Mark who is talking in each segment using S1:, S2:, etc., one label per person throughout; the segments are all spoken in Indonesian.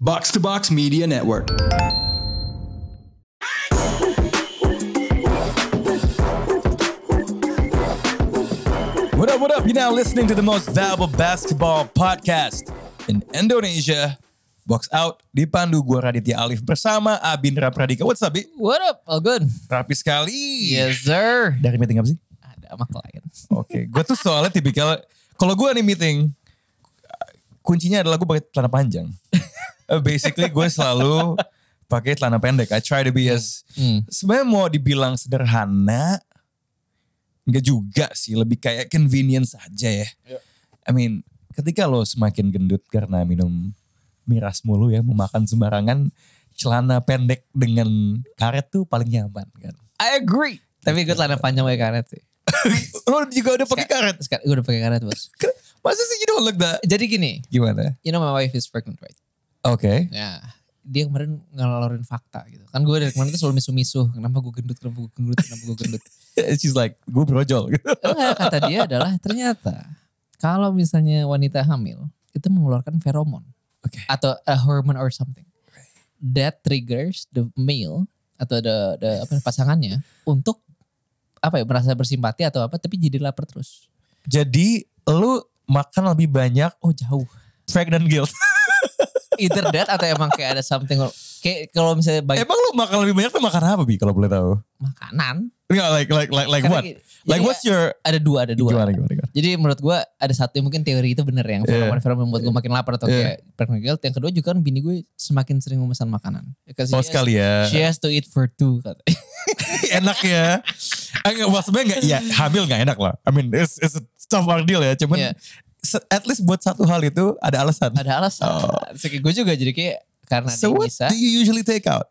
S1: Box to Box Media Network. What up, what up? You're now listening to the most valuable basketball podcast in Indonesia. Box Out dipandu gua Raditya Alif bersama Abindra Pradika. What's up, Bi?
S2: What up? All good.
S1: Rapi sekali.
S2: Yes, sir.
S1: Dari meeting apa sih?
S2: Ada sama klien.
S1: Oke, gue tuh soalnya tipikal kalau gue nih meeting kuncinya adalah gue pakai celana panjang. Uh, Basically gue selalu pakai celana pendek. I try to be as
S2: Hmm.
S1: sebenarnya mau dibilang sederhana enggak juga sih, lebih kayak convenience aja ya. I mean, ketika lo semakin gendut karena minum miras mulu ya, memakan sembarangan, celana pendek dengan karet tuh paling nyaman kan.
S2: I agree. Tapi gue celana panjang pakai karet sih.
S1: lo juga udah Iya. pakai karet.
S2: Sekarang gue udah pakai karet bos.
S1: Masa sih you don't look that?
S2: Jadi gini,
S1: Gimana?
S2: you know my wife is pregnant right?
S1: Oke.
S2: Ya. Dia kemarin ngelalurin fakta gitu. Kan gue dari kemarin tuh selalu misu-misu. Kenapa gue gendut, kenapa gue gendut, kenapa gue gendut.
S1: She's like, gue brojol gitu.
S2: Enggak, kata dia adalah ternyata kalau misalnya wanita hamil itu mengeluarkan feromon
S1: Oke.
S2: atau a hormone or something that triggers the male atau the, the apa pasangannya untuk apa ya merasa bersimpati atau apa tapi jadi lapar terus.
S1: Jadi lu makan lebih banyak
S2: Oh jauh.
S1: pregnant guilt.
S2: Either that atau emang kayak ada something kayak kalau misalnya banyak
S1: Emang lu makan lebih banyak tuh makan apa Bi kalau boleh tahu?
S2: makanan.
S1: Enggak like like like like
S2: Karena
S1: what?
S2: gini,
S1: Like
S2: jadi
S1: what's your
S2: ada dua ada dua.
S1: gimana gimana gimana?
S2: Jadi menurut gue ada satu mungkin teori itu bener ya, yang
S1: Iya.
S2: fenomena fenomena membuat gue makin lapar atau
S1: Iya.
S2: kayak pregnant guilt. Yang kedua juga kan bini gue semakin sering memesan makanan. Because
S1: Oh
S2: she has-
S1: sekali ya.
S2: She has to eat for two. katanya.
S1: enak ya. Enggak wah sebenarnya enggak ya hamil enggak enak lah. I mean it's it's a tough ordeal ya. Cuman
S2: Iya.
S1: se- at least buat satu hal itu ada alasan.
S2: Ada alasan. So, kayak gue juga jadi kayak karena
S1: Oh. So
S2: dia
S1: what
S2: bisa.
S1: do you usually take out?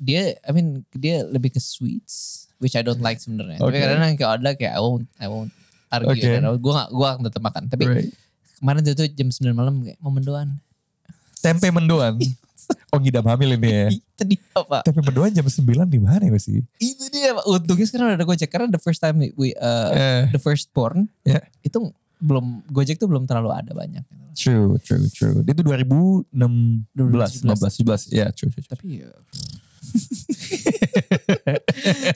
S2: Dia, I mean dia lebih ke sweets. Which I don't like sebenarnya. Tapi
S1: Okay.
S2: kadang-kadang kayak ada kayak I won't, I won't argue.
S1: Okay.
S2: Dan Gue gak, gue akan tetap makan. Tapi
S1: Right.
S2: kemarin itu jam 9 malam kayak mau mendoan.
S1: Tempe mendoan. oh ngidam hamil ini ya.
S2: Ih, Itu dia pak.
S1: Tempe mendoan jam 9 di mana ya sih?
S2: Itu dia pak. Untungnya sekarang ada Gojek. Karena the first time we, uh,
S1: Eh,
S2: the first porn.
S1: Ya.
S2: Itu belum, Gojek tuh belum terlalu ada banyak.
S1: True, true, true. Itu 2016,
S2: 2017.
S1: 15, 17. Ya, true, true, true.
S2: Tapi ya.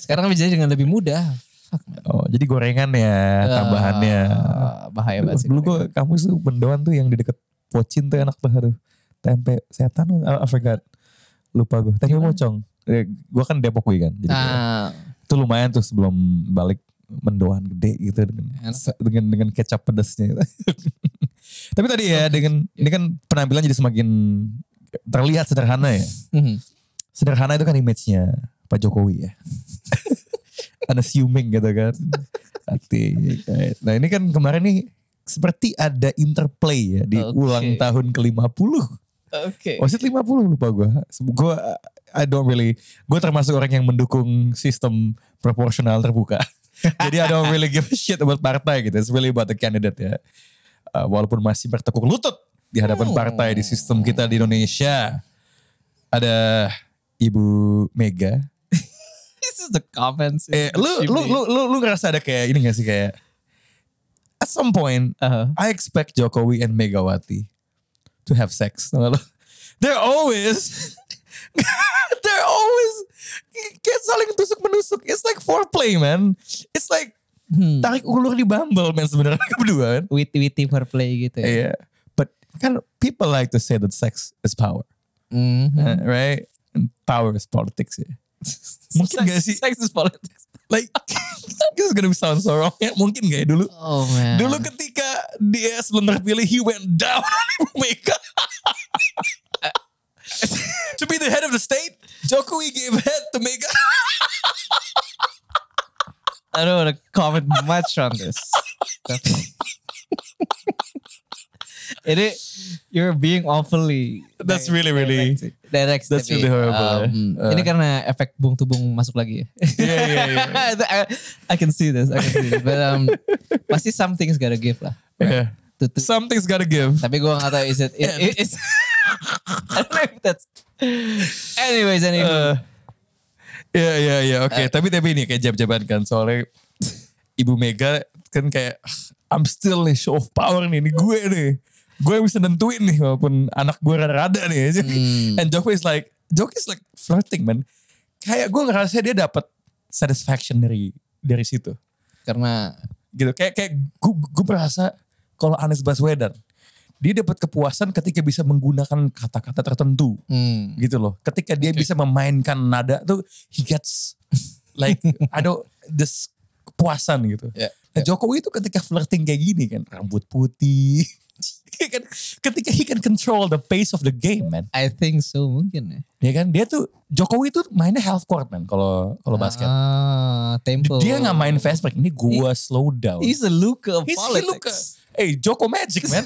S2: Sekarang bisa dengan lebih mudah. Fuck man.
S1: Oh, jadi gorengan ya tambahannya.
S2: Ah, bahaya
S1: Dulu,
S2: banget sih.
S1: dulu gue kampus tuh mendoan tuh yang di deket Pocin tuh enak banget tuh. Tempe setan, I, I forgot. Lupa gue. Tempe
S2: Gimana?
S1: pocong. Gue kan Depok gue kan. Jadi kayak-
S2: Nah,
S1: itu lumayan tuh sebelum balik mendoan gede gitu dengan
S2: Enak.
S1: se- dengan dengan kecap pedasnya gitu. Tapi tadi ya dengan ini kan penampilan jadi semakin terlihat sederhana ya.
S2: mhm.
S1: sederhana itu kan image-nya Pak Jokowi ya. Unassuming gitu kan. Hati. Nah ini kan kemarin nih seperti ada interplay ya di
S2: Oke.
S1: ulang tahun ke-50.
S2: Oke.
S1: Was it 50 lupa gue. Gue I don't really, gue termasuk orang yang mendukung sistem proporsional terbuka. Jadi I don't really give a shit about partai gitu. It's really about the candidate ya. Uh, walaupun masih bertekuk lutut di hadapan
S2: Hmm.
S1: partai di sistem kita di Indonesia. Ada Ibu Mega.
S2: This is the comments.
S1: Eh, lu, lu, lu, lu, lu ngerasa ada kayak ini gak sih kayak at some point
S2: Uh-huh.
S1: I expect Jokowi and Megawati to have sex. Tau gak lo? They're always, they're always kayak saling tusuk menusuk. It's like foreplay, man. It's like
S2: Hmm.
S1: tarik ulur di Bumble, man. Sebenarnya kedua kan.
S2: Witty witty for play gitu ya.
S1: Yeah. But kan people like to say that sex is power,
S2: Mhm.
S1: uh, right? And power is politics. Ya. Mungkin
S2: Sex-
S1: gak sih?
S2: Sex is politics.
S1: Like, this is gonna sound so wrong. Ya. Mungkin gak ya dulu?
S2: Oh man.
S1: Dulu ketika dia sebelum terpilih, he went down on Ibu Mega. to be the head of the state, Jokowi gave head to Mega.
S2: I don't want to comment much on this. Tapi- Ini you're being awfully
S1: That's really, really-
S2: direct, direct
S1: that's
S2: tapi,
S1: really horrible,
S2: um,
S1: eh.
S2: ini
S1: Uh.
S2: karena efek bung tubung masuk lagi ya
S1: Iya, iya,
S2: I, I can see this I can see this but um, pasti something's gotta give lah
S1: Yeah.
S2: To- to-
S1: Something's gotta give.
S2: tapi gue gak tahu is it, it, it- it's- I don't know if that's anyways
S1: Uh,
S2: anyway
S1: Iya, iya, iya. Oke,
S2: Uh.
S1: tapi tapi ini kayak jab-jaban kan. Soalnya Ibu Mega kan kayak, "Ah, I'm still a show of power nih, ini gue nih. gue yang bisa nentuin nih walaupun anak gue rada-rada nih.
S2: Hmm.
S1: And Jokowi is like, Jokowi is like flirting man. Kayak gue ngerasa dia dapat satisfaction dari dari situ.
S2: Karena
S1: Gitu. Kayak kayak gue gue merasa kalau Anies Baswedan dia dapat kepuasan ketika bisa menggunakan kata-kata tertentu
S2: hmm,
S1: gitu loh. Ketika dia
S2: Oke.
S1: bisa memainkan nada tuh he gets like I don't this kepuasan gitu.
S2: Ya,
S1: Nah, Jokowi itu ketika flirting kayak gini kan rambut putih. Iya kan ketika he can control the pace of the game man.
S2: I think so mungkin ya.
S1: Ya kan dia tuh Jokowi tuh mainnya half court man kalau kalau basket.
S2: Ah, Iya. tempo.
S1: Dia nggak main fast break ini gua slow down.
S2: He's a Luka of
S1: He's
S2: politics.
S1: Luka. Hey Joko Magic man.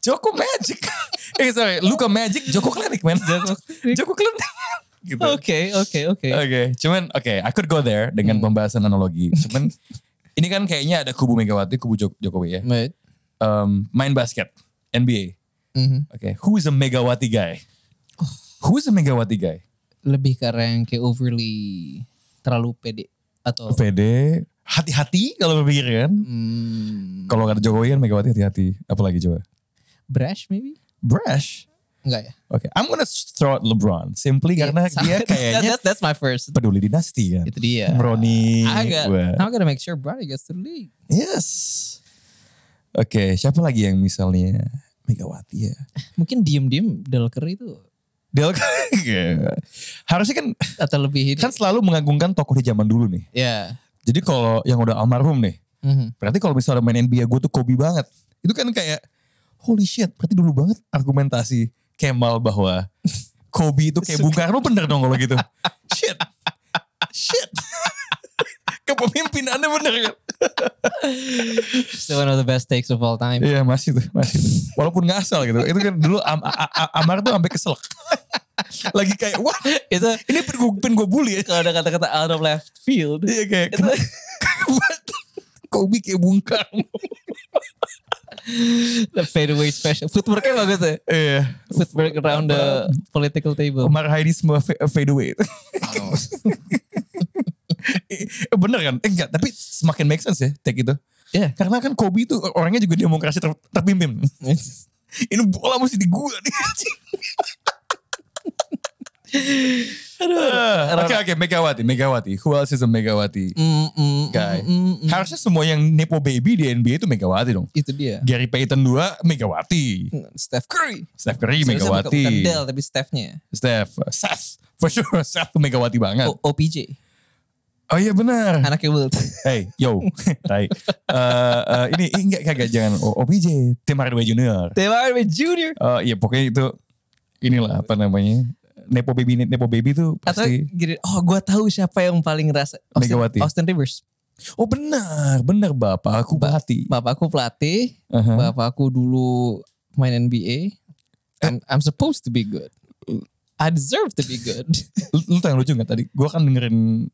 S1: Joko Magic. eh sorry, Luka Magic, Joko Klenik man.
S2: Joko Klenik.
S1: Joko Klenik. gitu.
S2: Oke, oke, oke.
S1: Oke, cuman oke, I could go there dengan
S2: Hmm.
S1: pembahasan analogi. Cuman ini kan kayaknya ada kubu Megawati, kubu Jok- Jokowi ya.
S2: But,
S1: Um, main basket, NBA.
S2: mhm.
S1: Oke, who is a Megawati guy?
S2: Oh.
S1: Who is a Megawati guy?
S2: Lebih karena yang kayak overly terlalu pede atau
S1: PD, Oh, hati-hati kalau berpikir kan.
S2: hmm,
S1: Kalau kata Jokowi kan Megawati hati-hati, apalagi coba.
S2: brash maybe?
S1: Brash.
S2: Enggak ya?
S1: Oke, I'm gonna throw out LeBron simply
S2: Iya,
S1: karena
S2: sama.
S1: dia kayaknya
S2: That- that's my first.
S1: peduli dinasti kan.
S2: Itu dia.
S1: Brony.
S2: Agak.
S1: gua.
S2: I'm gonna make sure Brody gets to the league.
S1: Yes. Oke, siapa lagi yang misalnya Megawati ya?
S2: Mungkin diem-diem Dalker itu
S1: Del harusnya kan
S2: atau lebih ini.
S1: kan selalu mengagungkan tokoh di zaman dulu nih.
S2: ya.
S1: Jadi kalau yang udah almarhum nih,
S2: Mhm.
S1: berarti kalau misalnya main NBA gue tuh Kobe banget. Itu kan kayak holy shit, berarti dulu banget argumentasi Kemal bahwa Kobe itu kayak Bung Karno bener dong kalau gitu. shit. Shit. Kepemimpinannya bener kan?
S2: Still one of the best takes of all time.
S1: Iya masih tuh, masih. Tuh. Walaupun nggak asal gitu. Itu kan dulu Am- A- A- Amar tuh sampai keselak. Lagi kayak wah
S2: itu
S1: ini pen gue, pen gue bully ya.
S2: kalau ada kata-kata out of left field.
S1: Iya kayak kenapa- What? Kobe kayak Bung Karno.
S2: The fadeaway special. Footworknya bagus ya.
S1: Iya.
S2: Footwork around the political table.
S1: Omar Heidi semua fa- fade away.
S2: Oh.
S1: Eh, Bener kan? Eh, enggak, tapi semakin make sense ya take itu.
S2: Iya.
S1: Karena kan Kobe itu orangnya juga demokrasi ter- terpimpin. Ini bola mesti di gua nih.
S2: Aduh.
S1: Ah, Oke oke Megawati, Megawati. Who else is a Megawati?
S2: Mm, mm,
S1: Guy.
S2: mm, mm, mm.
S1: Harusnya semua yang nepo baby di NBA itu Megawati dong.
S2: itu dia.
S1: Gary Payton 2 Megawati.
S2: Mm. Steph Curry.
S1: Steph Curry
S2: Seharusnya bukan-
S1: Megawati.
S2: Bukan Dell tapi Stephnya.
S1: Steph, uh, Seth, for sure Seth tuh Megawati banget.
S2: O- OPJ.
S1: Oh iya benar.
S2: Anaknya Wilt.
S1: Hey, yo, tai. Eh, eh, ini ih, enggak kagak jangan O- OPJ, Tim Hardaway Junior.
S2: Taylor Irwin Junior.
S1: Eh iya pokoknya itu inilah apa namanya nepo baby nepo baby tuh
S2: Atau
S1: pasti.
S2: gini, oh gue tahu siapa yang paling ngerasa. Austin,
S1: Megawati.
S2: Austin Rivers.
S1: Oh benar, benar bapak aku
S2: Ba-
S1: hati.
S2: Bapakku pelatih,
S1: Aha.
S2: bapakku dulu main NBA. I'm, I'm supposed to be good. I deserve to be good.
S1: Lu, lu tau yang lucu nggak tadi? Gue kan dengerin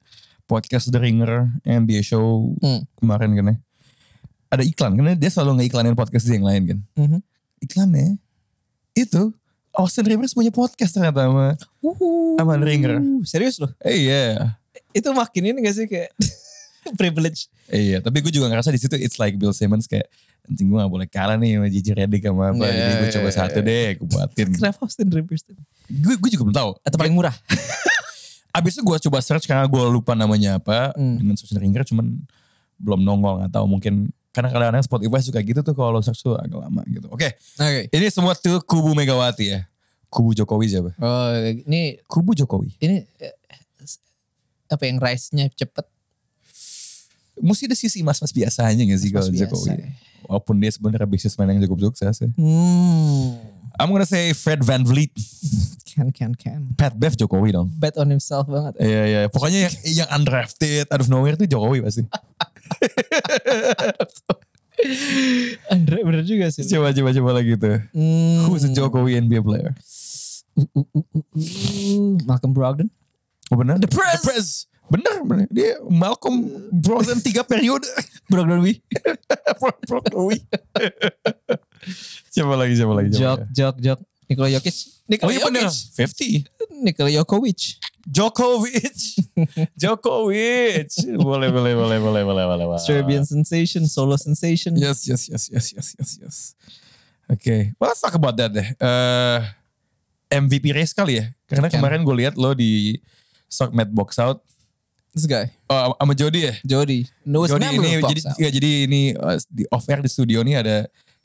S1: podcast The Ringer NBA show
S2: Hmm.
S1: kemarin kan ya. Ada iklan, karena dia selalu ngiklanin podcast dia yang lain kan.
S2: Mhm.
S1: Iklannya itu Austin Rivers punya podcast ternyata sama.
S2: Wuhu.
S1: Sama The Ringer.
S2: Serius loh.
S1: Eh, Iya.
S2: Itu makin ini gak sih kayak privilege.
S1: Iya, tapi gue juga ngerasa di situ it's like Bill Simmons kayak anjing gue gak boleh kalah nih sama JJ Redick sama apa.
S2: Iya,
S1: Jadi gue
S2: iya,
S1: coba
S2: iya,
S1: satu
S2: iya.
S1: deh, gue buatin.
S2: Kenapa Austin Rivers? tuh?
S1: gue gue juga belum tahu. Eh,
S2: Atau paling murah.
S1: Abis itu gue coba search karena gue lupa namanya apa
S2: Hmm.
S1: dengan Social Ringer cuman belum nongol nggak tahu mungkin karena kadang-kadang Spotify suka gitu tuh kalau search tuh agak lama gitu. Oke,
S2: Oke.
S1: ini semua tuh kubu Megawati ya. Kubu Jokowi siapa?
S2: Oh, ini
S1: Kubu Jokowi.
S2: ini eh, apa yang rise-nya cepet
S1: Mesti ada sisi mas-mas biasanya gak sih
S2: pas
S1: kalau
S2: biasa. iya.
S1: Jokowi? Walaupun dia sebenarnya bisnismen yang cukup sukses ya.
S2: Hmm.
S1: I'm gonna say Fred Van Vliet,
S2: Can can can.
S1: Pat Bev Jokowi dong.
S2: Bet on himself banget.
S1: Iya iya, pokoknya yang, yang undrafted out of nowhere tuh Jokowi pasti.
S2: Andre bener juga sih.
S1: Coba coba coba lagi tuh.
S2: Hmm.
S1: Who's a Jokowi NBA player?
S2: Uh, uh, uh, uh, uh. Malcolm Brogdon.
S1: Oh bener? The Prez. Bener, bener. Dia Malcolm Brogdon tiga periode.
S2: Brogdon Wi.
S1: Bro- Brogdon. siapa lagi, siapa lagi. siapa
S2: Jok
S1: lagi?
S2: jok jok. Nikola Jokic.
S1: Iya, Oh
S2: Nikola
S1: iya bener.
S2: Jokic.
S1: 50.
S2: Nikola Jokovic.
S1: Djokovic. Djokovic. boleh, boleh, boleh,
S2: Ah.
S1: boleh, boleh, boleh. boleh.
S2: Iya. Serbian sensation, solo sensation.
S1: Yes, yes, yes, yes, yes, yes, yes. Oke, well, let's talk about that deh. Eh, MVP race kali ya, karena
S2: Can.
S1: kemarin gue lihat lo di Stockmat Box Out
S2: This guy,
S1: oh, sama Jody ya.
S2: Jody. No,
S1: Jody ini jadi, ya, jadi ini eh, di off air di studio nih ada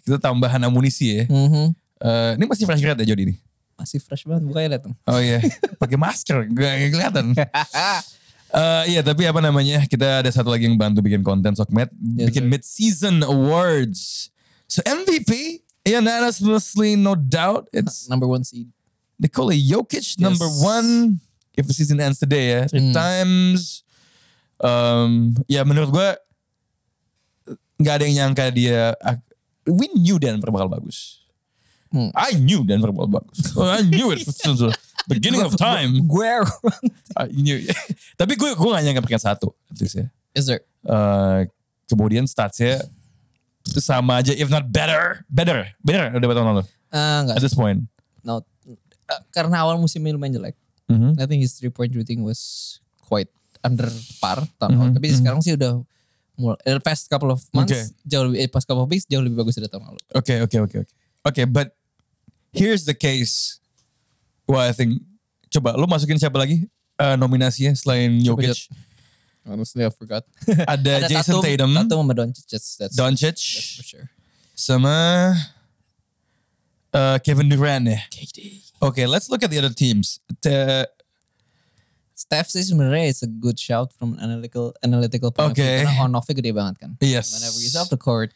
S1: kita tambahan amunisi ya.
S2: Hmm. Mm-hmm.
S1: Eh, ini masih fresh grad ya Jody nih.
S2: Masih fresh banget, bukannya lihat dong.
S1: Oh iya, pakai masker, gak gak kelihatan. Eh, iya, tapi apa namanya? Kita ada satu lagi yang bantu bikin konten Sokmed,
S2: Yes,
S1: bikin
S2: sir.
S1: mid season awards. So MVP, yeah, honestly, nah, no doubt, it's
S2: Number one seed.
S1: Nikola Jokic number one. If the season ends today ya, three
S2: Hmm.
S1: times. Um, ya menurut gue nggak ada yang nyangka dia. ak- We knew Denver bakal bagus.
S2: Hmm.
S1: I knew Denver bakal bagus. Oh, I knew it since the beginning of time.
S2: Where?
S1: I knew. Tapi gue gue gak nyangka peringkat satu. at least ya.
S2: Is there?
S1: Eh, kemudian statsnya sama aja if not better better better udah tahun lalu
S2: Ah,
S1: at
S2: enggak.
S1: this point
S2: No. Eh, karena awal musim ini lumayan jelek.
S1: Mhm.
S2: I think his three point shooting was quite under par tahun lalu.
S1: Mhm,
S2: Tapi
S1: mhm.
S2: sekarang sih udah mulai eh, past couple of months
S1: Okay.
S2: jauh lebih eh, past couple of weeks jauh lebih bagus dari tahun lalu.
S1: Okay, okay, okay, okay. Okay, but here's the case. Well, I think coba lu masukin siapa lagi Eh, nominasinya selain
S2: Coba,
S1: Jokic?
S2: Honestly, I forgot.
S1: Ada, Jason Tatum,
S2: Tatum sama Doncic. That's, that's,
S1: Doncic,
S2: that's for sure.
S1: sama eh, Kevin Durant ya.
S2: KD.
S1: Okay, let's look at the other teams. The-
S2: Steph sih sebenarnya it's a good shout from an analytical analytical point of
S1: Okay.
S2: view. Karena on off-nya gede banget kan.
S1: yes.
S2: Whenever he's off the court,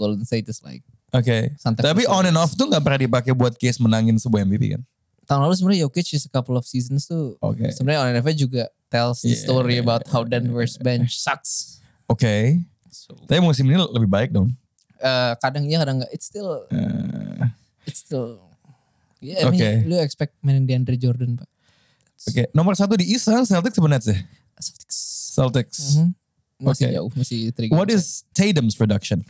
S2: Golden State is like
S1: Okay.
S2: Santai
S1: Tapi
S2: terus.
S1: on and off tuh nggak pernah dipakai buat case menangin sebuah MVP kan?
S2: tahun lalu sebenarnya Jokic is a couple of seasons tuh
S1: Oke.
S2: Ya, sebenarnya on and off-nya juga tells the
S1: Yeah.
S2: story about
S1: iya,
S2: how Denver's bench sucks.
S1: Oke.
S2: So,
S1: Tapi musim ini lebih baik dong.
S2: eh, kadang iya kadang enggak. It's still
S1: Eh,
S2: it's still Yeah, I
S1: Okay.
S2: mean, lu expect mainin DeAndre Jordan, Pak.
S1: Oke, nomor satu di East sekarang Celtics ya? sebenarnya sih.
S2: Celtics.
S1: Celtics.
S2: Mhm. Masih
S1: Okay.
S2: jauh, masih trigger.
S1: What is Tatum's production?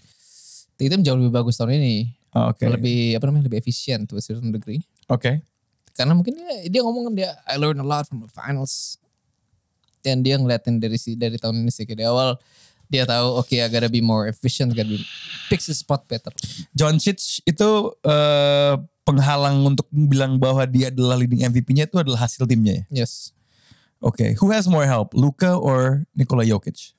S2: Tatum jauh lebih bagus tahun ini.
S1: Oh, Oke.
S2: Lebih apa namanya? Lebih efisien to a certain degree.
S1: Oke.
S2: karena mungkin dia, dia ngomong kan dia I learned a lot from the finals dan dia ngeliatin dari si dari tahun ini sih kayak di awal dia tahu oke I gotta be more efficient gotta be fix the spot better
S1: Doncic itu eh, penghalang untuk bilang bahwa dia adalah leading MVP-nya itu adalah hasil timnya ya.
S2: yes
S1: Oke, who has more help, Luka or Nikola Jokic?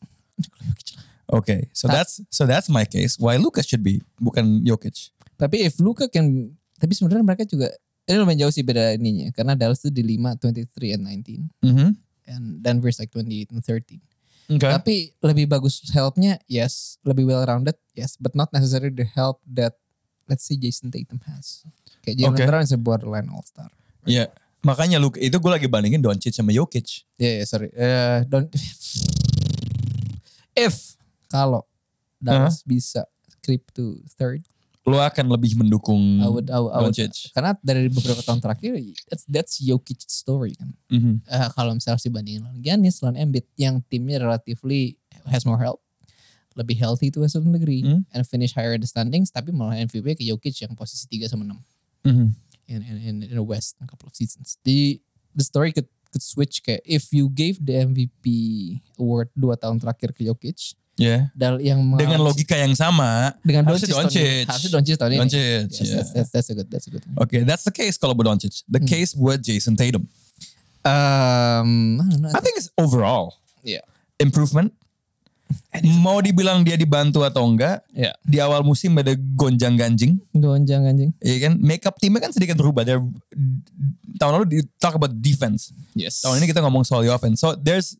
S1: Oke, so
S2: Ta-
S1: that's so that's my case. Why Luka should be bukan Jokic?
S2: tapi if Luka can tapi sebenarnya mereka juga ini lumayan jauh sih beda ininya karena Dallas tuh di 5 23 and 19
S1: Mhm.
S2: and Denver's like 28 and 13
S1: Oke.
S2: tapi lebih bagus helpnya yes lebih well rounded yes but not necessarily the help that let's say Jason Tatum has kayak Jalen
S1: Okay.
S2: Brown is a borderline all star
S1: Iya. Makanya Luka itu gue lagi bandingin Doncic sama Jokic.
S2: Ya, ya, sorry. Eh, don't if kalau Dallas bisa creep to third,
S1: Lu akan lebih mendukung.
S2: I would, I would, I would-
S1: Doncic.
S2: karena dari beberapa tahun terakhir, that's that's Jokic story kan.
S1: Mhm.
S2: Eh, kalau misalnya harus dibandingin lawan Giannis, lawan Embiid yang timnya relatively has more help, lebih healthy to a certain degree,
S1: Hmm.
S2: and finish higher in the standings, tapi malah MVP ke Jokic yang posisi 3 sama 6
S1: Mhm.
S2: in in in, in the West in a couple of seasons. The the story could could switch kayak if you gave the MVP award dua tahun terakhir ke Jokic
S1: Ya.
S2: dan yang
S1: Dengan
S2: mengalami-
S1: logika yang sama,
S2: dengan
S1: harusnya
S2: Doncic tahun ini.
S1: Doncic.
S2: harusnya Doncic tahun ini.
S1: Doncic.
S2: Yes,
S1: ya.
S2: that's, that's, that's a good that's a good. One.
S1: Oke, that's the case kalau buat Doncic. The
S2: Hmm.
S1: case buat Jason Tatum.
S2: Um, I don't know, I
S1: I think it's overall.
S2: Yeah.
S1: Improvement. Mau dibilang dia dibantu atau enggak,
S2: Yeah.
S1: di awal musim ada gonjang ganjing,
S2: think gonjang anjing.
S1: ya kan? Makeup timnya kan sedikit berubah. They're- tahun lalu di talk about defense,
S2: Yes.
S1: tahun ini kita ngomong soal the offense. So there's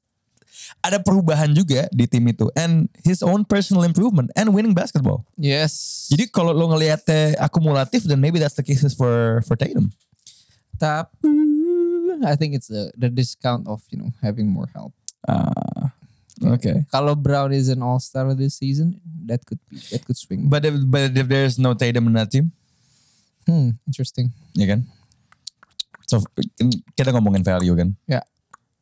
S1: ada perubahan juga di tim itu and his own personal improvement and winning basketball.
S2: Yes.
S1: Jadi kalau lo ngelihatnya akumulatif then maybe that's the cases for for Tatum.
S2: tapi I think it's the the discount of you know having more help.
S1: Ah, Oke.
S2: Kalau Brown is an all star this season, that could be that could swing.
S1: But if, but if there's no Tatum in that team,
S2: hmm, interesting.
S1: ya kan? So kita ngomongin value kan?
S2: Ya.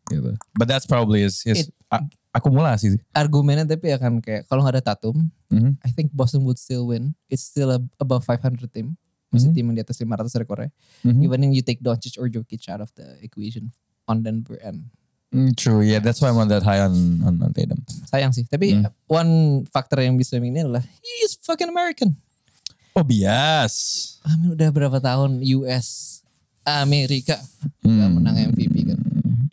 S1: Gitu. But that's probably his, his
S2: It-
S1: a- akumulasi sih.
S2: argumennya tapi akan kayak kalau nggak ada Tatum,
S1: Mhm.
S2: I think Boston would still win. It's still a, above 500 team. Masih tim yang di atas 500 rekornya.
S1: Mhm.
S2: ya. Even when you take Doncic or Jokic out of the equation on Denver and
S1: Mm, True, yeah, that's why I'm not that high on on, on Tatum.
S2: sayang sih. Tapi
S1: Hmm.
S2: one factor yang bisa ini adalah he is fucking American.
S1: Oh bias.
S2: Amin udah berapa tahun US Amerika
S1: Hmm.
S2: nggak menang MVP kan.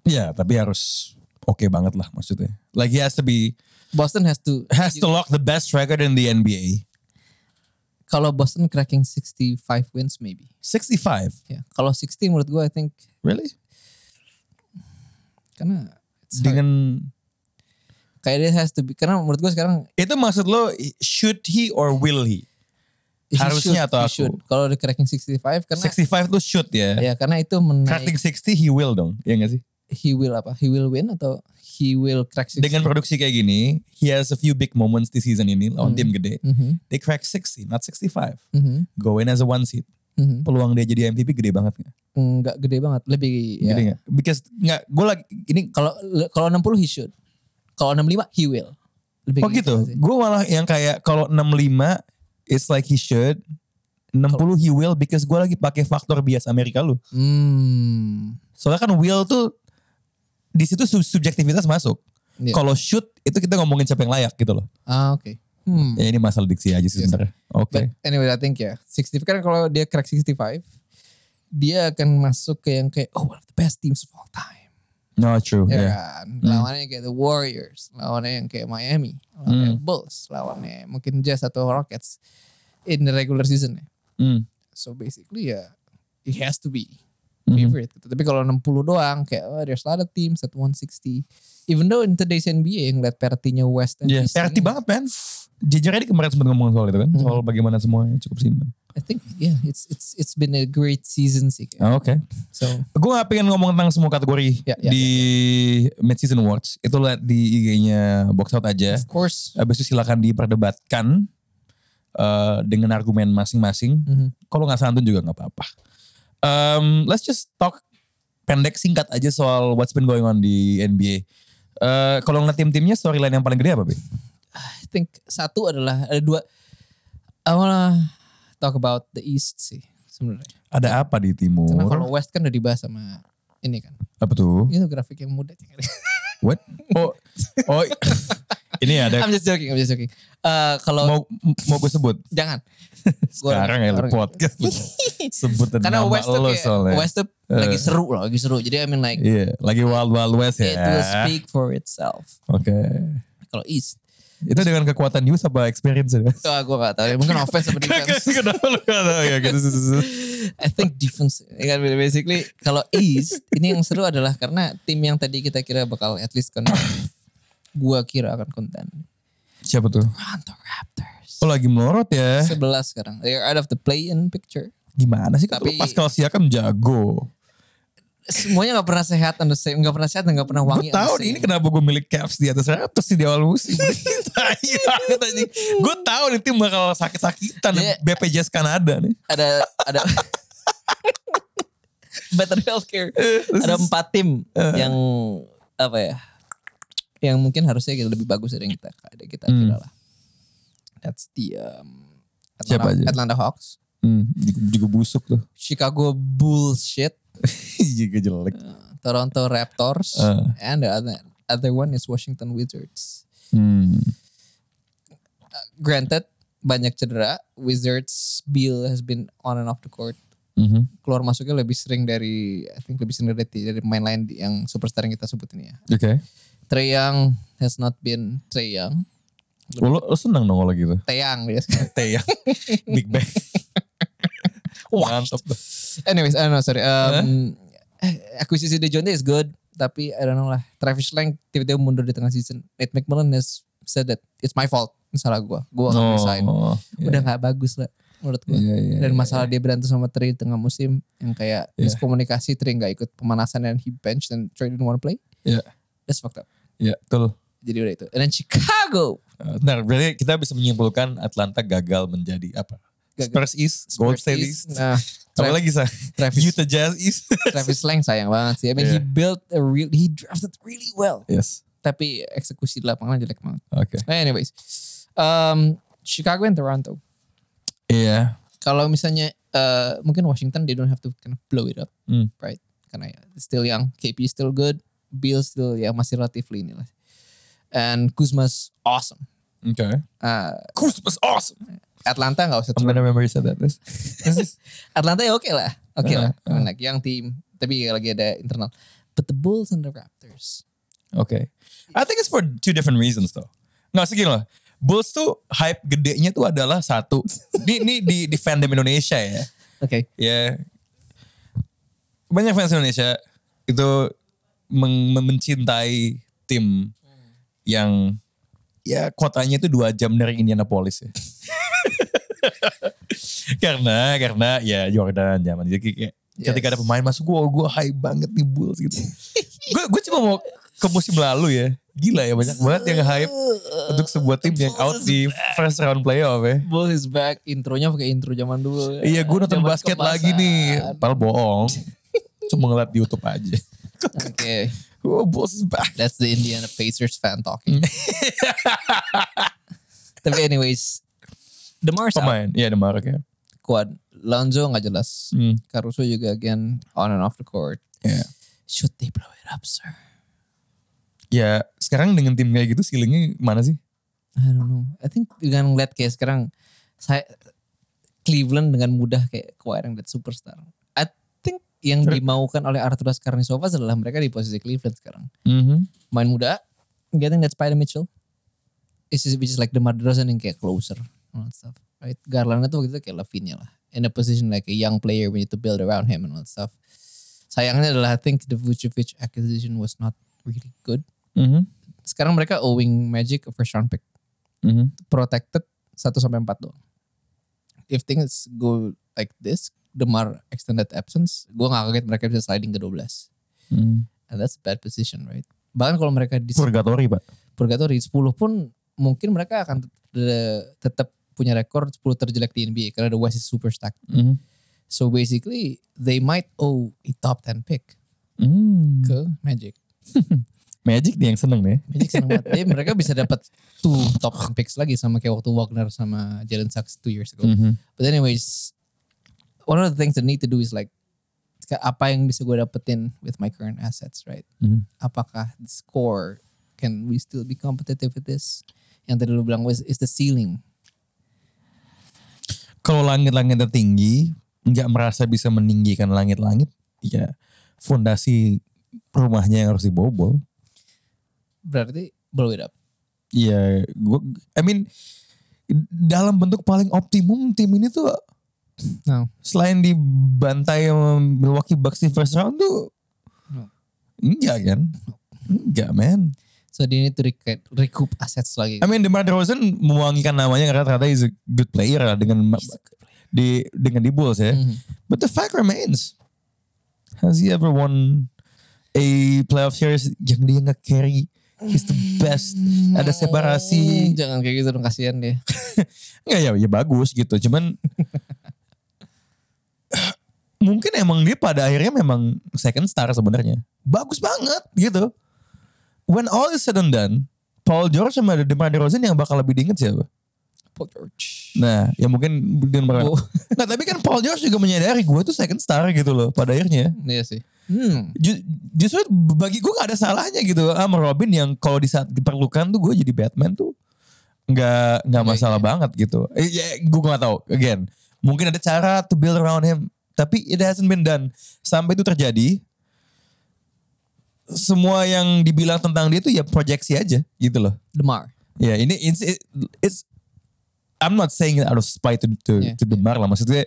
S1: Ya tapi harus oke banget lah maksudnya. Like he has to be,
S2: Boston has to
S1: has to lock the best record in the NBA.
S2: kalau Boston cracking 65 wins maybe.
S1: 65.
S2: Ya, kalau 60 menurut gue I think
S1: Really?
S2: karena it's hard.
S1: Dengan,
S2: kayak dia has to be karena menurut gue sekarang
S1: itu maksud lo should he or will he?
S2: he
S1: Harusnya
S2: should,
S1: atau
S2: he
S1: aku?
S2: should. Kalau dia cracking 65 karena
S1: 65 tuh shoot ya.
S2: ya karena itu menaik
S1: Cracking 60 he will dong, ya gak sih?
S2: he will apa? He will win atau he will crack 60.
S1: Dengan produksi kayak gini, he has a few big moments this season ini lawan
S2: Hmm.
S1: tim gede.
S2: Mhm,
S1: They crack 60, not 65.
S2: mhm,
S1: Go in as a one seed.
S2: mhm.
S1: Peluang dia jadi MVP gede banget gak?
S2: nggak gede banget lebih ya.
S1: Gede gak? Because nggak, gue lagi ini
S2: kalau kalau 60 he should kalau 65 he will lebih
S1: Oh
S2: ke
S1: gitu.
S2: sih.
S1: Gue malah yang kayak kalau 65 it's like he should. 60 he will because gue lagi pakai faktor bias Amerika lu.
S2: hmm
S1: Soalnya kan will tuh di situ sub- subjektivitas masuk.
S2: Iya.
S1: Kalau shoot itu kita ngomongin siapa yang layak gitu loh.
S2: ah oke hmm
S1: Ya ini masalah diksi aja sih
S2: Yes.
S1: sebenarnya. Oke.
S2: Iya But anyway I think ya 60 kan kalau dia crack 65 dia akan masuk ke yang kayak oh one of the best teams of all time
S1: No true.
S2: ya
S1: Yeah.
S2: kan lawannya kayak the Warriors lawannya yang kayak Miami lawannya Bulls lawannya mungkin Jazz atau Rockets in the regular season ya
S1: Hmm.
S2: so basically ya it has to be
S1: Mhm.
S2: favorite. gitu. Tapi kalau 60 doang kayak oh, there's a lot of teams at 160. Even though in today's NBA yang lihat partinya West and
S1: Iya,
S2: East.
S1: RT banget man. Jujur aja kemarin sempat ngomong soal itu kan.
S2: Hmm.
S1: Soal bagaimana semuanya cukup seimbang.
S2: I think yeah, it's it's it's been a great season sih. kayak.
S1: Ah, Oke.
S2: So
S1: Gue gak pengen ngomong tentang semua kategori
S2: Ya, ya,
S1: di mid season awards. Itu lihat di IG-nya box out aja.
S2: of course.
S1: Habis itu silakan diperdebatkan eh, dengan argumen masing-masing.
S2: Mhm.
S1: Kalau nggak santun juga nggak apa-apa. Um, let's just talk pendek singkat aja soal what's been going on di NBA. Eh kalau ngeliat tim-timnya storyline yang paling gede apa, Bi?
S2: I think satu adalah ada dua. I wanna talk about the East sih sebenarnya.
S1: Ada apa di timur?
S2: Karena kalau West kan udah dibahas sama ini kan.
S1: Apa tuh?
S2: Itu grafik yang muda. sih.
S1: What? Oh, oh ini ada
S2: I'm just joking, I'm just joking. Eh, kalau
S1: mau mau gue sebut
S2: jangan. Gua-
S1: sekarang ya lu
S2: orang-
S1: podcast sebut
S2: Karena
S1: nama
S2: West tuh
S1: lo
S2: kayak-
S1: soalnya. Eh.
S2: West tuh lagi seru loh, lagi seru. Jadi I mean like
S1: Iya, lagi wild wild west ya.
S2: it will speak for itself.
S1: Oke.
S2: Kalau East,
S1: Itu dengan kekuatan news apa experience ya?
S2: ah, gue gak tau. Mungkin offense sama defense.
S1: Kenapa lu gak tau ya gitu.
S2: I think defense. Ya kan, basically kalau East ini yang seru adalah karena tim yang tadi kita kira bakal at least kan gua kira akan konten.
S1: Siapa tuh?
S2: Toronto Raptors.
S1: Oh lagi melorot ya.
S2: 11 sekarang. They're out of the play-in picture.
S1: Gimana sih kalau
S2: Tapi-
S1: Pascal Siakam jago.
S2: Semuanya gak pernah sehat and the same. Gak pernah sehat dan gak pernah
S1: Gue
S2: wangi. and the
S1: tau
S2: same.
S1: nih ini kan kenapa gue milik Cavs di atas Raptors sih di awal musim. gue tau nih tim bakal sakit-sakitan.
S2: Iya.
S1: BPJS Kanada nih.
S2: Ada, ada. Better healthcare.
S1: Eh,
S2: ada empat tim yang apa ya yang mungkin harusnya kita lebih bagus dari yang kita ada kita
S1: Hmm.
S2: kira lah that's the um,
S1: Siapa
S2: Atlanta,
S1: aja?
S2: Atlanta Hawks
S1: Hmm, juga busuk tuh.
S2: Chicago bullshit
S1: juga jelek.
S2: Toronto Raptors
S1: Eh.
S2: and the other other one is Washington Wizards
S1: Hmm.
S2: granted banyak cedera Wizards Bill has been on and off the court
S1: Mhm.
S2: keluar masuknya lebih sering dari I think lebih sering dari dari main lain di- yang superstar yang kita sebut ini ya
S1: Oke.
S2: Trae Young has not been Trae Young
S1: Oh, Lo, lo seneng dong kalau gitu.
S2: Teyang dia
S1: Teh ya. Big Bang. Mantap.
S2: Anyways, I don't know, sorry. Um, Akuisisi DeJounte is good, tapi I don't know lah. Travis Lang tiba-tiba mundur di tengah season. Nate McMillan has said that it's my fault. Ini Salah gue, gue akan resign. Udah gak bagus lah menurut gue.
S1: Oh, Iya, iya, iya.
S2: Dan masalah dia berantem sama Trey di tengah musim yang kayak
S1: Iya.
S2: miskomunikasi Trey gak ikut pemanasan dan he bench dan Trey didn't want to play.
S1: Iya.
S2: That's fucked up.
S1: Ya, betul.
S2: Jadi udah itu. And then Chicago.
S1: Eh, Bentar, berarti kita bisa menyimpulkan Atlanta gagal menjadi apa?
S2: Gagal.
S1: Spurs East, Gold State
S2: Spurs
S1: East,
S2: is- Nah,
S1: apa lagi sah?
S2: Travis,
S1: Utah Jazz East.
S2: Travis Lang sayang banget sih. I mean
S1: Iya.
S2: he built a real, he drafted really well.
S1: yes,
S2: tapi eksekusi di lapangan jelek banget. Nah,
S1: oke.
S2: Anyways, um, Chicago and Toronto.
S1: Iya.
S2: Kalau misalnya uh, mungkin Washington they don't have to kind of blow it up,
S1: Hmm.
S2: right? Karena ya, still young, KP still good, Bill still ya masih relatively inilah. And Kuzma's awesome.
S1: Okay.
S2: Uh,
S1: Kuz was awesome.
S2: Atlanta nggak usah
S1: I'm
S2: turun.
S1: gonna remember you said that. This. this is,
S2: Atlanta ya oke lah. Oke
S1: Uh-huh,
S2: lah. Anak yang tim. Tapi lagi ada internal. But the Bulls and the Raptors.
S1: okay. I think it's for two different reasons though. Nggak segini loh. Bulls tuh hype gedenya tuh adalah satu. Ini ini di, di fandom Indonesia ya.
S2: Oke.
S1: ya banyak fans Indonesia itu meng- mencintai tim yang ya kotanya itu dua jam dari Indianapolis ya. karena karena ya Jordan zaman jadi kayak ketika
S2: Yes.
S1: ada pemain masuk gue gue hype banget nih Bulls gitu. gue gue cuma mau ke musim lalu ya gila ya banyak banget yang hype
S2: Uh.
S1: untuk sebuah tim yang out di first round playoff ya.
S2: Bulls is back. Intronya pakai intro zaman dulu.
S1: Iya gue nonton
S2: Zaman
S1: basket
S2: kemasan.
S1: lagi nih. Padahal bohong. Cuma ngeliat di Youtube aja.
S2: Oke.
S1: Oh bos back.
S2: That's the Indiana Pacers fan
S1: Hmm.
S2: talking. Tapi anyways. DeMar's out.
S1: Pemain. Iya Demar ya.
S2: Kuat. Lonzo nggak jelas.
S1: Hmm.
S2: Caruso juga again on and off the court.
S1: Ya.
S2: Should they blow it up, sir?
S1: Ya sekarang dengan tim kayak gitu ceilingnya mana sih?
S2: I don't know. I think dengan ngeliat kayak sekarang saya Cleveland dengan mudah kayak keluarin that superstar. I think yang
S1: Sure.
S2: dimaukan oleh Arturas Karnisovas adalah mereka di posisi Cleveland sekarang.
S1: Mhm.
S2: Main muda, getting that Spider Mitchell. It's just, which is like the DeRozan yang kayak closer. And all that stuff. Right? Garland itu waktu itu kayak Lavinia lah. In a position like a young player we need to build around him and all that stuff. Sayangnya adalah I think the Vucevic acquisition was not really good.
S1: Mhm.
S2: Sekarang mereka owing Magic a first round pick
S1: Mhm.
S2: protected 1 sampai 4 doang. If things go like this, Demar extended absence, gue gak kaget mereka bisa sliding ke 12.
S1: Mhm.
S2: And that's a bad position, right? Bahkan kalau mereka di
S1: Purgatory pak.
S2: purgatory 10 pun mungkin mereka akan tet- tetap punya rekor 10 terjelek di NBA karena the West is super stacked.
S1: Mhm.
S2: So basically, they might owe a top 10 pick
S1: Hmm.
S2: ke Magic.
S1: Magic nih yang seneng nih.
S2: Magic seneng banget. Jadi mereka bisa dapat two top 10 picks lagi sama kayak waktu Wagner sama Jalen Sachs two years ago.
S1: Mhm.
S2: But anyways, one of the things that need to do is like ka- apa yang bisa gue dapetin with my current assets, right?
S1: Mhm.
S2: Apakah the score can we still be competitive with this? Yang tadi lu bilang was is the ceiling.
S1: Kalau langit-langitnya tinggi, nggak merasa bisa meninggikan langit-langit, ya fondasi rumahnya yang harus dibobol.
S2: Berarti blow it up.
S1: Iya, gua I mean dalam bentuk paling optimum tim ini tuh
S2: No.
S1: selain dibantai sama Milwaukee Bucks di first round tuh
S2: No.
S1: enggak kan? Enggak man.
S2: So they need to recoup, recoup assets lagi.
S1: I mean DeMar DeRozan mewangikan namanya karena ternyata he's a good player lah dengan di dengan di Bulls ya.
S2: Mhm.
S1: But the fact remains, has he ever won a playoff series yang dia nge-carry? He's the best. Ada separasi.
S2: Hmm, Jangan kayak gitu dong kasihan dia.
S1: Nggak ya, ya bagus gitu. Cuman mungkin emang dia pada akhirnya memang second star sebenarnya. Bagus banget gitu. When all is said and done, Paul George sama DeMar DeRozan yang bakal lebih diinget siapa?
S2: Paul George.
S1: Nah, ya mungkin dan
S2: Oh.
S1: Nah, tapi kan Paul George juga menyadari gue tuh second star gitu loh pada akhirnya.
S2: Iya sih. Hmm.
S1: Ju- Justru bagi gue gak ada salahnya gitu sama Robin yang kalau di saat diperlukan tuh gue jadi Batman tuh nggak nggak
S2: Iya,
S1: masalah banget gitu. Eh, Ya, gue gak tahu. Again, mungkin ada cara to build around him, tapi it hasn't been done. Sampai itu terjadi, semua yang dibilang tentang dia tuh ya proyeksi aja gitu loh.
S2: Demar.
S1: Ya ini it's, it's I'm not saying it out of spite to to,
S2: Yeah,
S1: to Demar lah maksudnya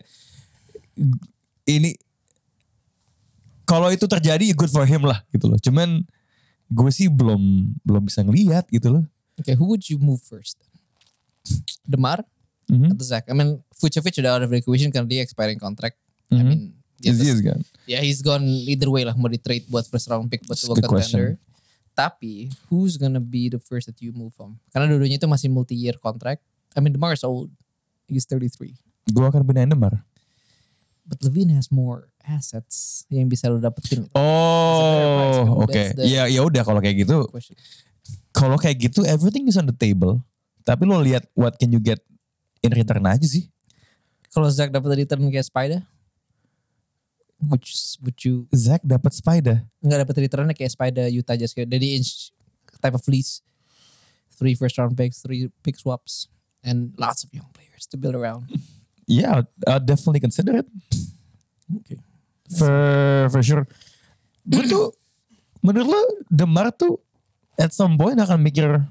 S1: ini kalau itu terjadi good for him lah gitu loh. Cuman gue sih belum belum bisa ngelihat gitu loh.
S2: Okay, who would you move first? Demar
S1: Mhm.
S2: atau Zach? I mean, Vucevic udah out of the equation karena dia expiring contract. I
S1: Mhm.
S2: mean, dia
S1: It's
S2: terus-
S1: yes, kan.
S2: ya he's gone either way lah mau di trade buat first round pick buat
S1: It's a
S2: sebuah
S1: good question.
S2: contender. Tapi who's gonna be the first that you move from? Karena dua-duanya itu masih multi year contract. I mean, Demar is old. He's 33.
S1: Gue akan pindahin Demar.
S2: But Levine has more assets yang bisa lo dapetin.
S1: Oh, oke.
S2: That's the-
S1: Ya ya udah kalau kayak gitu,
S2: Question.
S1: kalau kayak gitu everything is on the table. Tapi lo lihat what can you get in return aja sih.
S2: Kalau Zach dapat return kayak Spider, would you, would you
S1: Zach dapat Spider.
S2: nggak dapat returnnya kayak spider Utah Jazz kayak dari inch type of fleece three first round picks, three pick swaps, and lots of young players to build around.
S1: Yeah, I'll definitely consider it
S2: okay.
S1: for for sure. Gue tuh menurut lo Demar tuh at some point akan mikir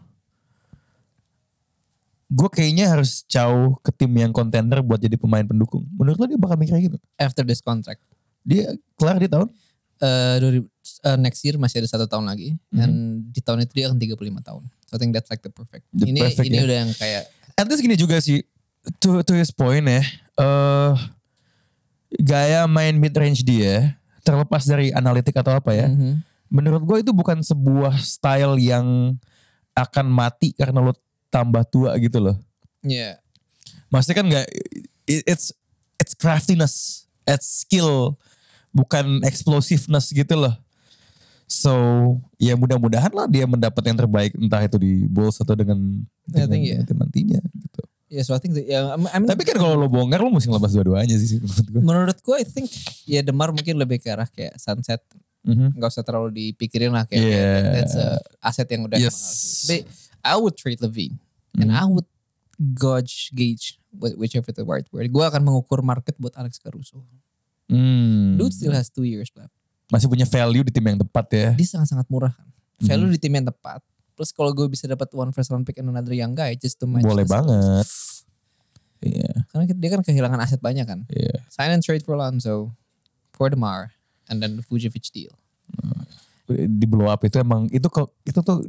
S1: gue kayaknya harus jauh ke tim yang kontender buat jadi pemain pendukung. Menurut lo dia bakal mikir kayak gitu?
S2: After this contract,
S1: Dia kelar di tahun?
S2: uh, 2000 uh, next year masih ada satu tahun lagi,
S1: Mhm.
S2: and di tahun itu dia akan 35 tahun. So I think that's like the perfect.
S1: The
S2: ini
S1: perfect, ya.
S2: ini udah yang kayak
S1: At least gini juga sih to, to his point ya. eh gaya main mid range dia terlepas dari analitik atau apa ya.
S2: mhm.
S1: Menurut gue itu bukan sebuah style yang akan mati karena lo tambah tua gitu loh.
S2: yeah.
S1: Maksudnya kan gak it- it's it's craftiness, it's skill, bukan explosiveness gitu loh. So ya mudah-mudahan lah dia mendapat yang terbaik entah itu di Bulls atau dengan,
S2: I
S1: dengan
S2: think, yeah.
S1: tim nantinya gitu.
S2: Yeah, so I think that, yeah, I'm, I'm
S1: Iya. Tapi kan kalau lo bongkar lo mesti lepas dua-duanya sih menurut gue.
S2: menurut gue I think ya Demar mungkin lebih ke arah kayak sunset
S1: Mhm.
S2: nggak usah terlalu dipikirin lah kayak
S1: Yeah.
S2: that's a aset yang udah
S1: Yes.
S2: mahal sih. But I would trade Levine and
S1: Mhm.
S2: I would gauge gauge wh- whichever the right word. Gue akan mengukur market buat Alex Caruso.
S1: Hmm.
S2: Dude still has two years left.
S1: Masih punya value di tim yang tepat ya.
S2: Dia sangat-sangat murah kan.
S1: Hmm.
S2: Value di tim yang tepat. Plus kalau gue bisa dapat one first round pick and another young guy just to match.
S1: Boleh
S2: this-
S1: banget. Iya.
S2: Karena dia kan kehilangan aset banyak kan.
S1: Iya.
S2: Sign and trade for Lonzo, for Demar, and then the Vucevic deal.
S1: Di blow up itu emang itu kok itu tuh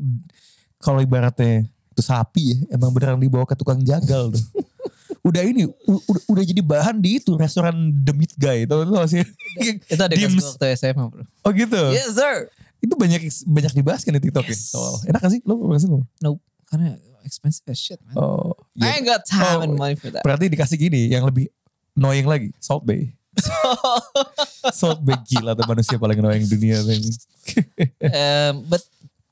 S1: kalau ibaratnya itu sapi ya emang beneran dibawa ke tukang jagal tuh. udah ini u- udah, udah jadi bahan di itu restoran The Meat Guy tau tau sih.
S2: Itu ada
S1: Dims.
S2: kelas waktu SMA bro.
S1: oh gitu.
S2: Yes sir.
S1: Itu banyak banyak dibahas kan di TikTok
S2: Iya. Yes. Hmm.
S1: ya soal. Enak gak sih lo pernah sih lo?
S2: Nope. Karena expensive as shit man.
S1: Oh.
S2: I ain't got time
S1: Oh.
S2: and money for that.
S1: Berarti dikasih gini yang lebih annoying lagi, Salt Bay. Salt Bay gila tuh manusia paling annoying dunia tuh ini.
S2: um, but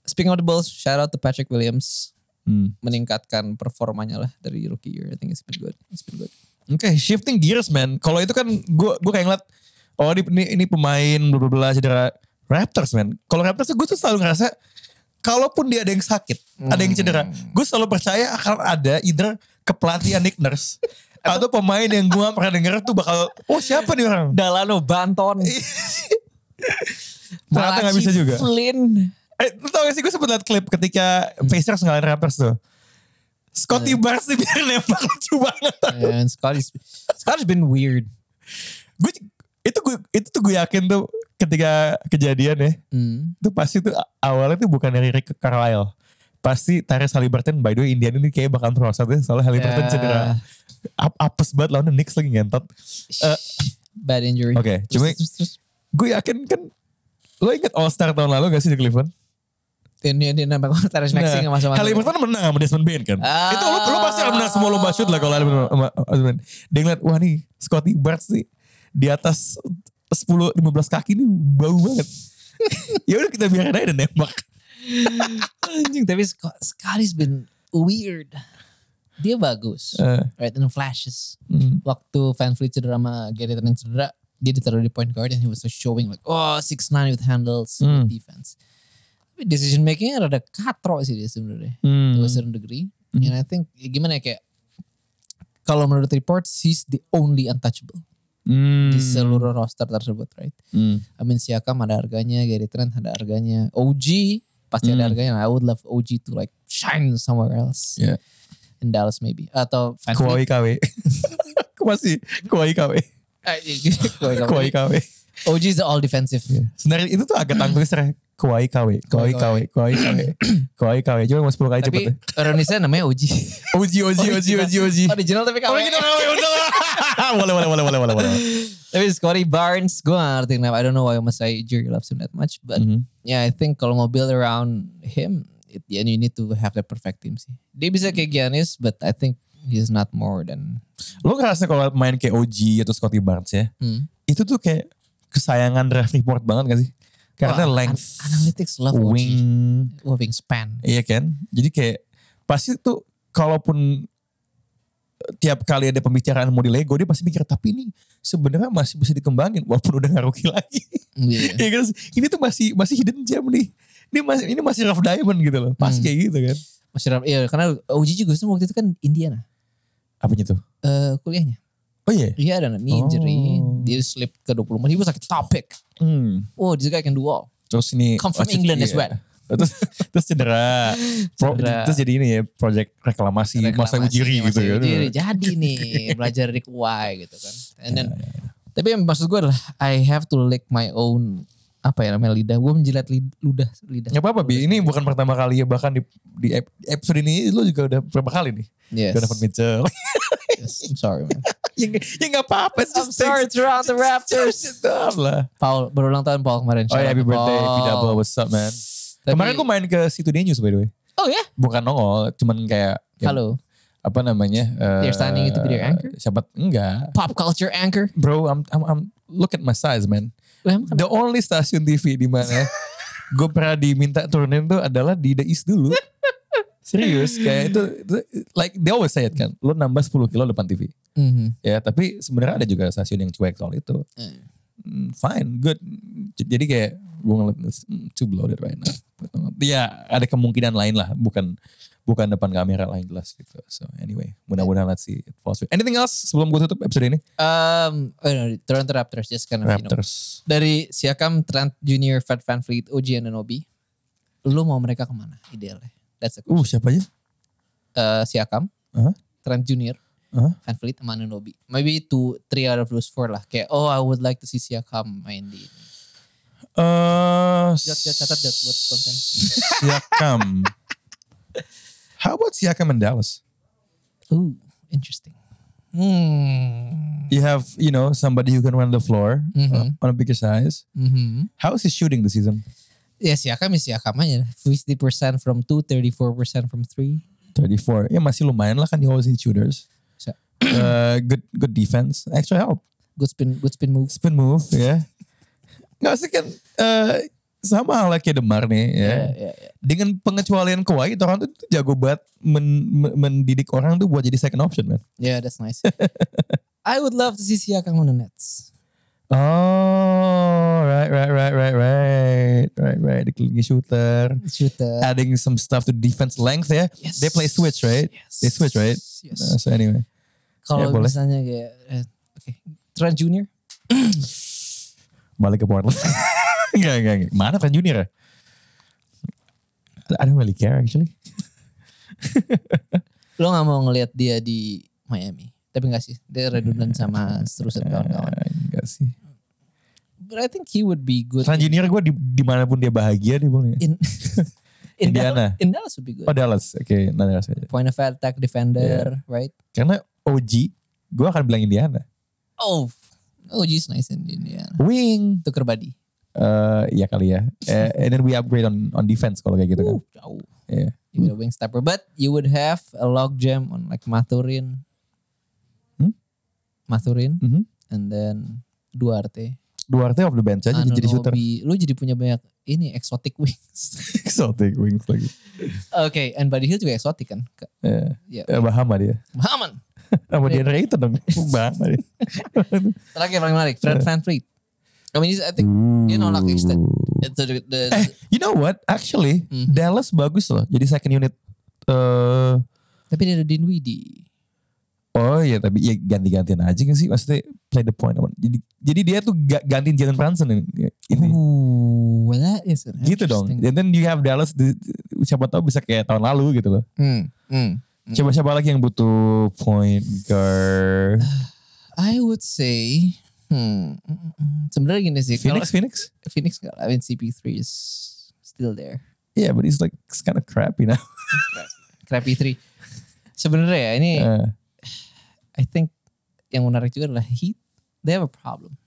S2: speaking of the Bulls, shout out to Patrick Williams
S1: Hmm.
S2: meningkatkan performanya lah dari rookie year. I think it's been good. It's been good.
S1: Oke, shifting gears man. Kalau itu kan gue gue kayak ngeliat oh ini ini, ini pemain bla bla bla cedera Raptors man. Kalau Raptors gue tuh selalu ngerasa kalaupun dia ada yang sakit, ada yang cedera, gue selalu percaya akan ada either kepelatihan Nick Nurse atau pemain yang gue pernah denger tuh bakal oh siapa nih orang?
S2: Dalano Banton.
S1: Ternyata nggak bisa juga.
S2: Flynn.
S1: Eh, lu tau gak sih gue sempet liat klip ketika Pacers ngalahin Raptors tuh. Scotty Barnes nih biar nembak lucu banget.
S2: And Scotty's Scotty's been weird.
S1: Gue itu gue itu tuh gue yakin tuh ketika kejadian ya,
S2: Hmm.
S1: itu pasti tuh awalnya tuh bukan dari Rick Carlisle. Pasti Tyrese Halliburton by the way Indian ini kayaknya bakal merosot ya soalnya Halliburton
S2: Ya.
S1: cedera. Ap- apes banget lawan Knicks lagi ngentot. Eh.
S2: Bad injury.
S1: Oke,
S2: Terus,
S1: cuma
S2: terus, terus.
S1: gue yakin kan lo inget All Star tahun lalu gak sih di Cleveland?
S2: Ini dia nambah Terus
S1: Nah,
S2: Maxi nggak masuk masuk.
S1: Halliburton menang sama Desmond Bain kan.
S2: Ah.
S1: Itu lu, lu pasti akan menang semua lomba shoot lah kalau Halliburton sama sama Desmond Bain. Dia ngeliat, wah nih Scotty Barnes nih di atas 10-15 kaki nih bau banget. ya udah kita biarin aja dan nembak.
S2: Anjing, tapi Scott, Scotty's been weird. Dia bagus.
S1: Eh,
S2: Right, in flashes.
S1: hmm.
S2: waktu Van Fleet cedera sama Gary Trent cedera, dia ditaruh di point guard and he was so showing like, oh 6'9 with handles,
S1: Hmm.
S2: with defense. Tapi decision makingnya rada katro sih dia sebenarnya.
S1: Hmm.
S2: To a certain degree.
S1: Hmm.
S2: And I think ya gimana ya kayak, kalau menurut reports, he's the only untouchable
S1: Hmm.
S2: di seluruh roster tersebut, right?
S1: Hmm.
S2: Amin Siakam ada harganya, Gary Trent ada harganya, OG pasti
S1: Hmm.
S2: ada harganya. I would love OG to like shine somewhere else.
S1: Yeah.
S2: In Dallas maybe. Atau Van
S1: Kawhi
S2: Fleet.
S1: KW. Aku masih Kawhi KW.
S2: Eh, iya,
S1: Kawhi KW.
S2: OG is the all defensive.
S1: Iya, Sebenarnya itu tuh agak tanggung serai. Kawhi KW. Kawhi KW. Kawhi KW. Kawhi KW. Cuma mau 10 kali cepet
S2: Tapi Oh, iya.
S1: ya.
S2: ironisnya namanya Oji.
S1: Oji Oji Oji Oji Oji.
S2: Original tapi KW.
S1: Original KW udah lah. Boleh boleh boleh boleh boleh boleh.
S2: Tapi Scotty Barnes, gue gak ngerti kenapa. I don't know why Masai Jerry loves him that much. But
S1: Mhm.
S2: yeah, I think kalau mau build around him, it, yeah, you need to have the perfect team sih. Dia bisa kayak Giannis, but I think he's not more than...
S1: Lo ngerasa kalau main kayak OG atau Scotty Barnes ya.
S2: Hmm.
S1: Itu tuh kayak kesayangan draft report banget gak sih? Karena
S2: Wah,
S1: length.
S2: an- analytics love
S1: wing.
S2: Wing. OG. Oh, wingspan.
S1: Iya kan? Jadi kayak pasti tuh kalaupun eh, tiap kali ada pembicaraan mau di Lego dia pasti mikir tapi ini sebenarnya masih bisa dikembangin walaupun udah ngaruki lagi.
S2: Iya.
S1: Iya kan? Ini tuh masih masih hidden gem nih. ini masih ini masih rough diamond gitu loh. Pas
S2: Hmm.
S1: kayak gitu kan.
S2: Masih ram- iya karena uji juga waktu itu kan Indiana
S1: Apanya tuh?
S2: eh kuliahnya.
S1: Oh iya.
S2: Iya ada knee injury,
S1: Oh.
S2: dia slip ke 20 menit, he was like topic.
S1: Hmm.
S2: Oh, this guy can do all.
S1: Terus ini
S2: Come from
S1: masih-
S2: England as
S1: iya.
S2: well.
S1: Terus terus cedera. Pro-
S2: Cedera.
S1: Terus jadi ini ya proyek reklamasi, masa
S2: Reklamasi,
S1: ujiri gitu
S2: Masai
S1: kan.
S2: Ujiri. Jadi nih belajar dari Kuai gitu kan. And
S1: Iya,
S2: then, tapi yang maksud gue adalah I have to lick my own apa ya namanya lidah. Gue menjilat lid- ludah lidah.
S1: Gak apa-apa Bi, ini bukan pertama kali ya bahkan di, di ep- episode ini lu juga udah berapa kali nih?
S2: Yes.
S1: Donovan Mitchell.
S2: yes. I'm sorry man.
S1: ya, ya gak apa-apa. it's
S2: I'm
S1: just
S2: sorry
S1: things.
S2: to the Raptors.
S1: Shut up lah.
S2: Paul berulang tahun Paul kemarin.
S1: Oh ya,
S2: Shout out
S1: happy
S2: to
S1: birthday
S2: Paul.
S1: P Double, what's up man?
S2: Tapi-
S1: Kemarin gue main ke situ News by the way.
S2: Oh ya.
S1: Bukan nongol, cuman kayak ya,
S2: Halo.
S1: apa namanya? eh,
S2: They're standing to be their anchor?
S1: Siapa? Enggak.
S2: Pop culture anchor.
S1: Bro, I'm, I'm, I'm look at my size man.
S2: Lah, emang kenapa?
S1: The only stasiun TV di mana gue pernah diminta turunin tuh adalah di The East dulu. Serius, kayak itu, itu- like they always say it kan, lo nambah 10 kilo depan TV.
S2: Mhm.
S1: Ya, tapi sebenarnya ada juga stasiun yang cuek soal itu.
S2: Eh.
S1: Hmm, Fine, good. J- Jadi kayak gue ngeliat hmm, too bloated right now. Ya, ada kemungkinan lain lah, bukan bukan depan kamera lain jelas gitu. So anyway, mudah-mudahan let's see it falls. through. Anything else sebelum gue tutup episode ini?
S2: Um, oh no, Toronto Raptors just kind of you know,
S1: Raptors.
S2: dari Siakam, Trent Junior, Fred Van Fleet, OG Ananobi, lu mau mereka kemana idealnya? That's a
S1: Uh, siapa aja?
S2: uh, Siakam,
S1: Huh?
S2: Trent Junior,
S1: Huh?
S2: Van Fleet, sama Ananobi. Maybe two, three out of those four lah. Kayak, oh I would like to see Siakam main di.
S1: Eh,
S2: Jot, jot, catat, jot, buat konten.
S1: Siakam. How about Siakam and Dallas?
S2: Ooh, interesting. Hmm.
S1: You have, you know, somebody who can run the floor uh,
S2: Mhm.
S1: on a bigger size.
S2: Mhm.
S1: How is he shooting this season?
S2: Ya Siakam ya Siakam aja. 50% from two, 34% from three.
S1: 34. Ya masih lumayan lah kan di always need shooters.
S2: Bisa.
S1: Uh, good good defense. Extra help.
S2: Good spin, good spin move.
S1: Spin move, ya. Nggak sih kan eh, sama halnya kayak Demar nih, ya.
S2: Ya, ya, ya.
S1: Dengan pengecualian Kawhi, orang tuh jago banget men- men- mendidik orang tuh buat jadi second option, man.
S2: Yeah, that's nice. I would love to see Siakam on the Nets.
S1: Oh, right, right, right, right, right, right, right. Dikelilingi shooter,
S2: Shooter.
S1: adding some stuff to defense length ya.
S2: Yes.
S1: They play switch, right?
S2: Yes.
S1: They switch, right?
S2: Yes.
S1: Uh, so anyway,
S2: Kalau
S1: ya, boleh.
S2: misalnya kayak eh, oke, Trent Junior,
S1: balik ke Portland. Enggak, enggak, enggak. Mana Trent Junior ya? I don't really care actually.
S2: lo nggak mau ngelihat dia di Miami. Tapi enggak sih, dia redundant
S1: Hmm.
S2: sama seterusnya kawan-kawan.
S1: Eh, Enggak sih.
S2: But I think he would be good
S1: Trent Junior gue di, dimanapun dia bahagia dia boleh.
S2: in in
S1: Indiana.
S2: Dallas, in Dallas would be good.
S1: Oh Dallas, oke. nanti rasanya.
S2: Point of attack defender, right?
S1: Karena OG, gue akan bilang Indiana.
S2: Oh, oh geez, nice in Indiana.
S1: Wing,
S2: Tuker body.
S1: Eh, ya kali ya. Eh, and then we upgrade on on defense kalau kayak gitu kan.
S2: Uh, jauh.
S1: Iya.
S2: You get a wing stepper, but you would have a log jam on like Mathurin.
S1: Hmm?
S2: Mathurin
S1: Mhm.
S2: and then Duarte.
S1: Duarte off the bench aja jadi- jadi shooter.
S2: Anunoby. Anu, Lu jadi punya banyak ini exotic wings.
S1: Exotic wings lagi.
S2: Oke, and Buddy Hill juga exotic kan. Ke-
S1: Eh,
S2: Ya.
S1: eh, Bahama dia.
S2: Bahaman.
S1: Sama dia Rayton dong. Bahama dia.
S2: Terakhir paling menarik,
S1: Iya.
S2: Fred Van Fleet. I mean, he's- I think dia nolak extend. Itu the, the,
S1: Eh, you know what? Actually,
S2: Mhm.
S1: Dallas bagus loh. Jadi second unit. eh
S2: tapi dia ada Dinwiddie.
S1: oh iya tapi ya ganti-gantian aja gak sih? Maksudnya play the point. Jadi jadi dia tuh ga- gantiin Jalen Brunson ini. ini.
S2: Ooh, well, that is an
S1: gitu dong.
S2: Oh,
S1: And
S2: interesting-
S1: then you have Dallas di- siapa tahu bisa kayak tahun lalu gitu loh.
S2: Hmm, hmm.
S1: Coba siapa lagi yang butuh point guard?
S2: Ah, I would say, hmm, mm, mm, mm. sebenarnya gini sih. kalau-
S1: Phoenix, Phoenix.
S2: Phoenix nggak, I mean CP3 is still there.
S1: Yeah, but he's like it's kind of crappy now.
S2: Crappy 3. Sebenarnya ya ini,
S1: Eh,
S2: I think yang menarik juga adalah Heat, they have a problem.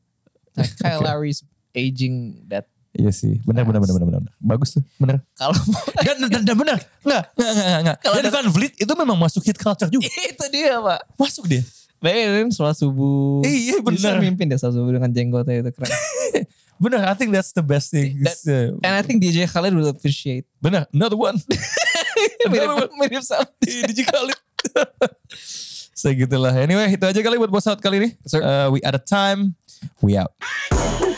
S2: Like Kyle
S1: Okay.
S2: Lowry's aging that
S1: iya sih, benar benar benar benar benar. Bagus tuh, benar.
S2: kalau mau-
S1: Dan dan dan benar. Enggak, enggak enggak enggak.
S2: Kalau
S1: Dan
S2: ada-
S1: Van Vliet itu memang masuk hit culture juga.
S2: itu dia pak.
S1: Masuk dia.
S2: Bayangin sholat subuh.
S1: Eh, iya,
S2: Bisa
S1: bener.
S2: mimpin deh sholat subuh dengan jenggotnya itu keren.
S1: Benar, I think that's the best thing. uh,
S2: That- And I think DJ Khaled will appreciate.
S1: benar, another one.
S2: mirip, mirip sama.
S1: DJ Khalid. so gitulah. Anyway, itu aja kali buat boss out kali ini.
S2: Sir.
S1: Uh, we out of time. We out.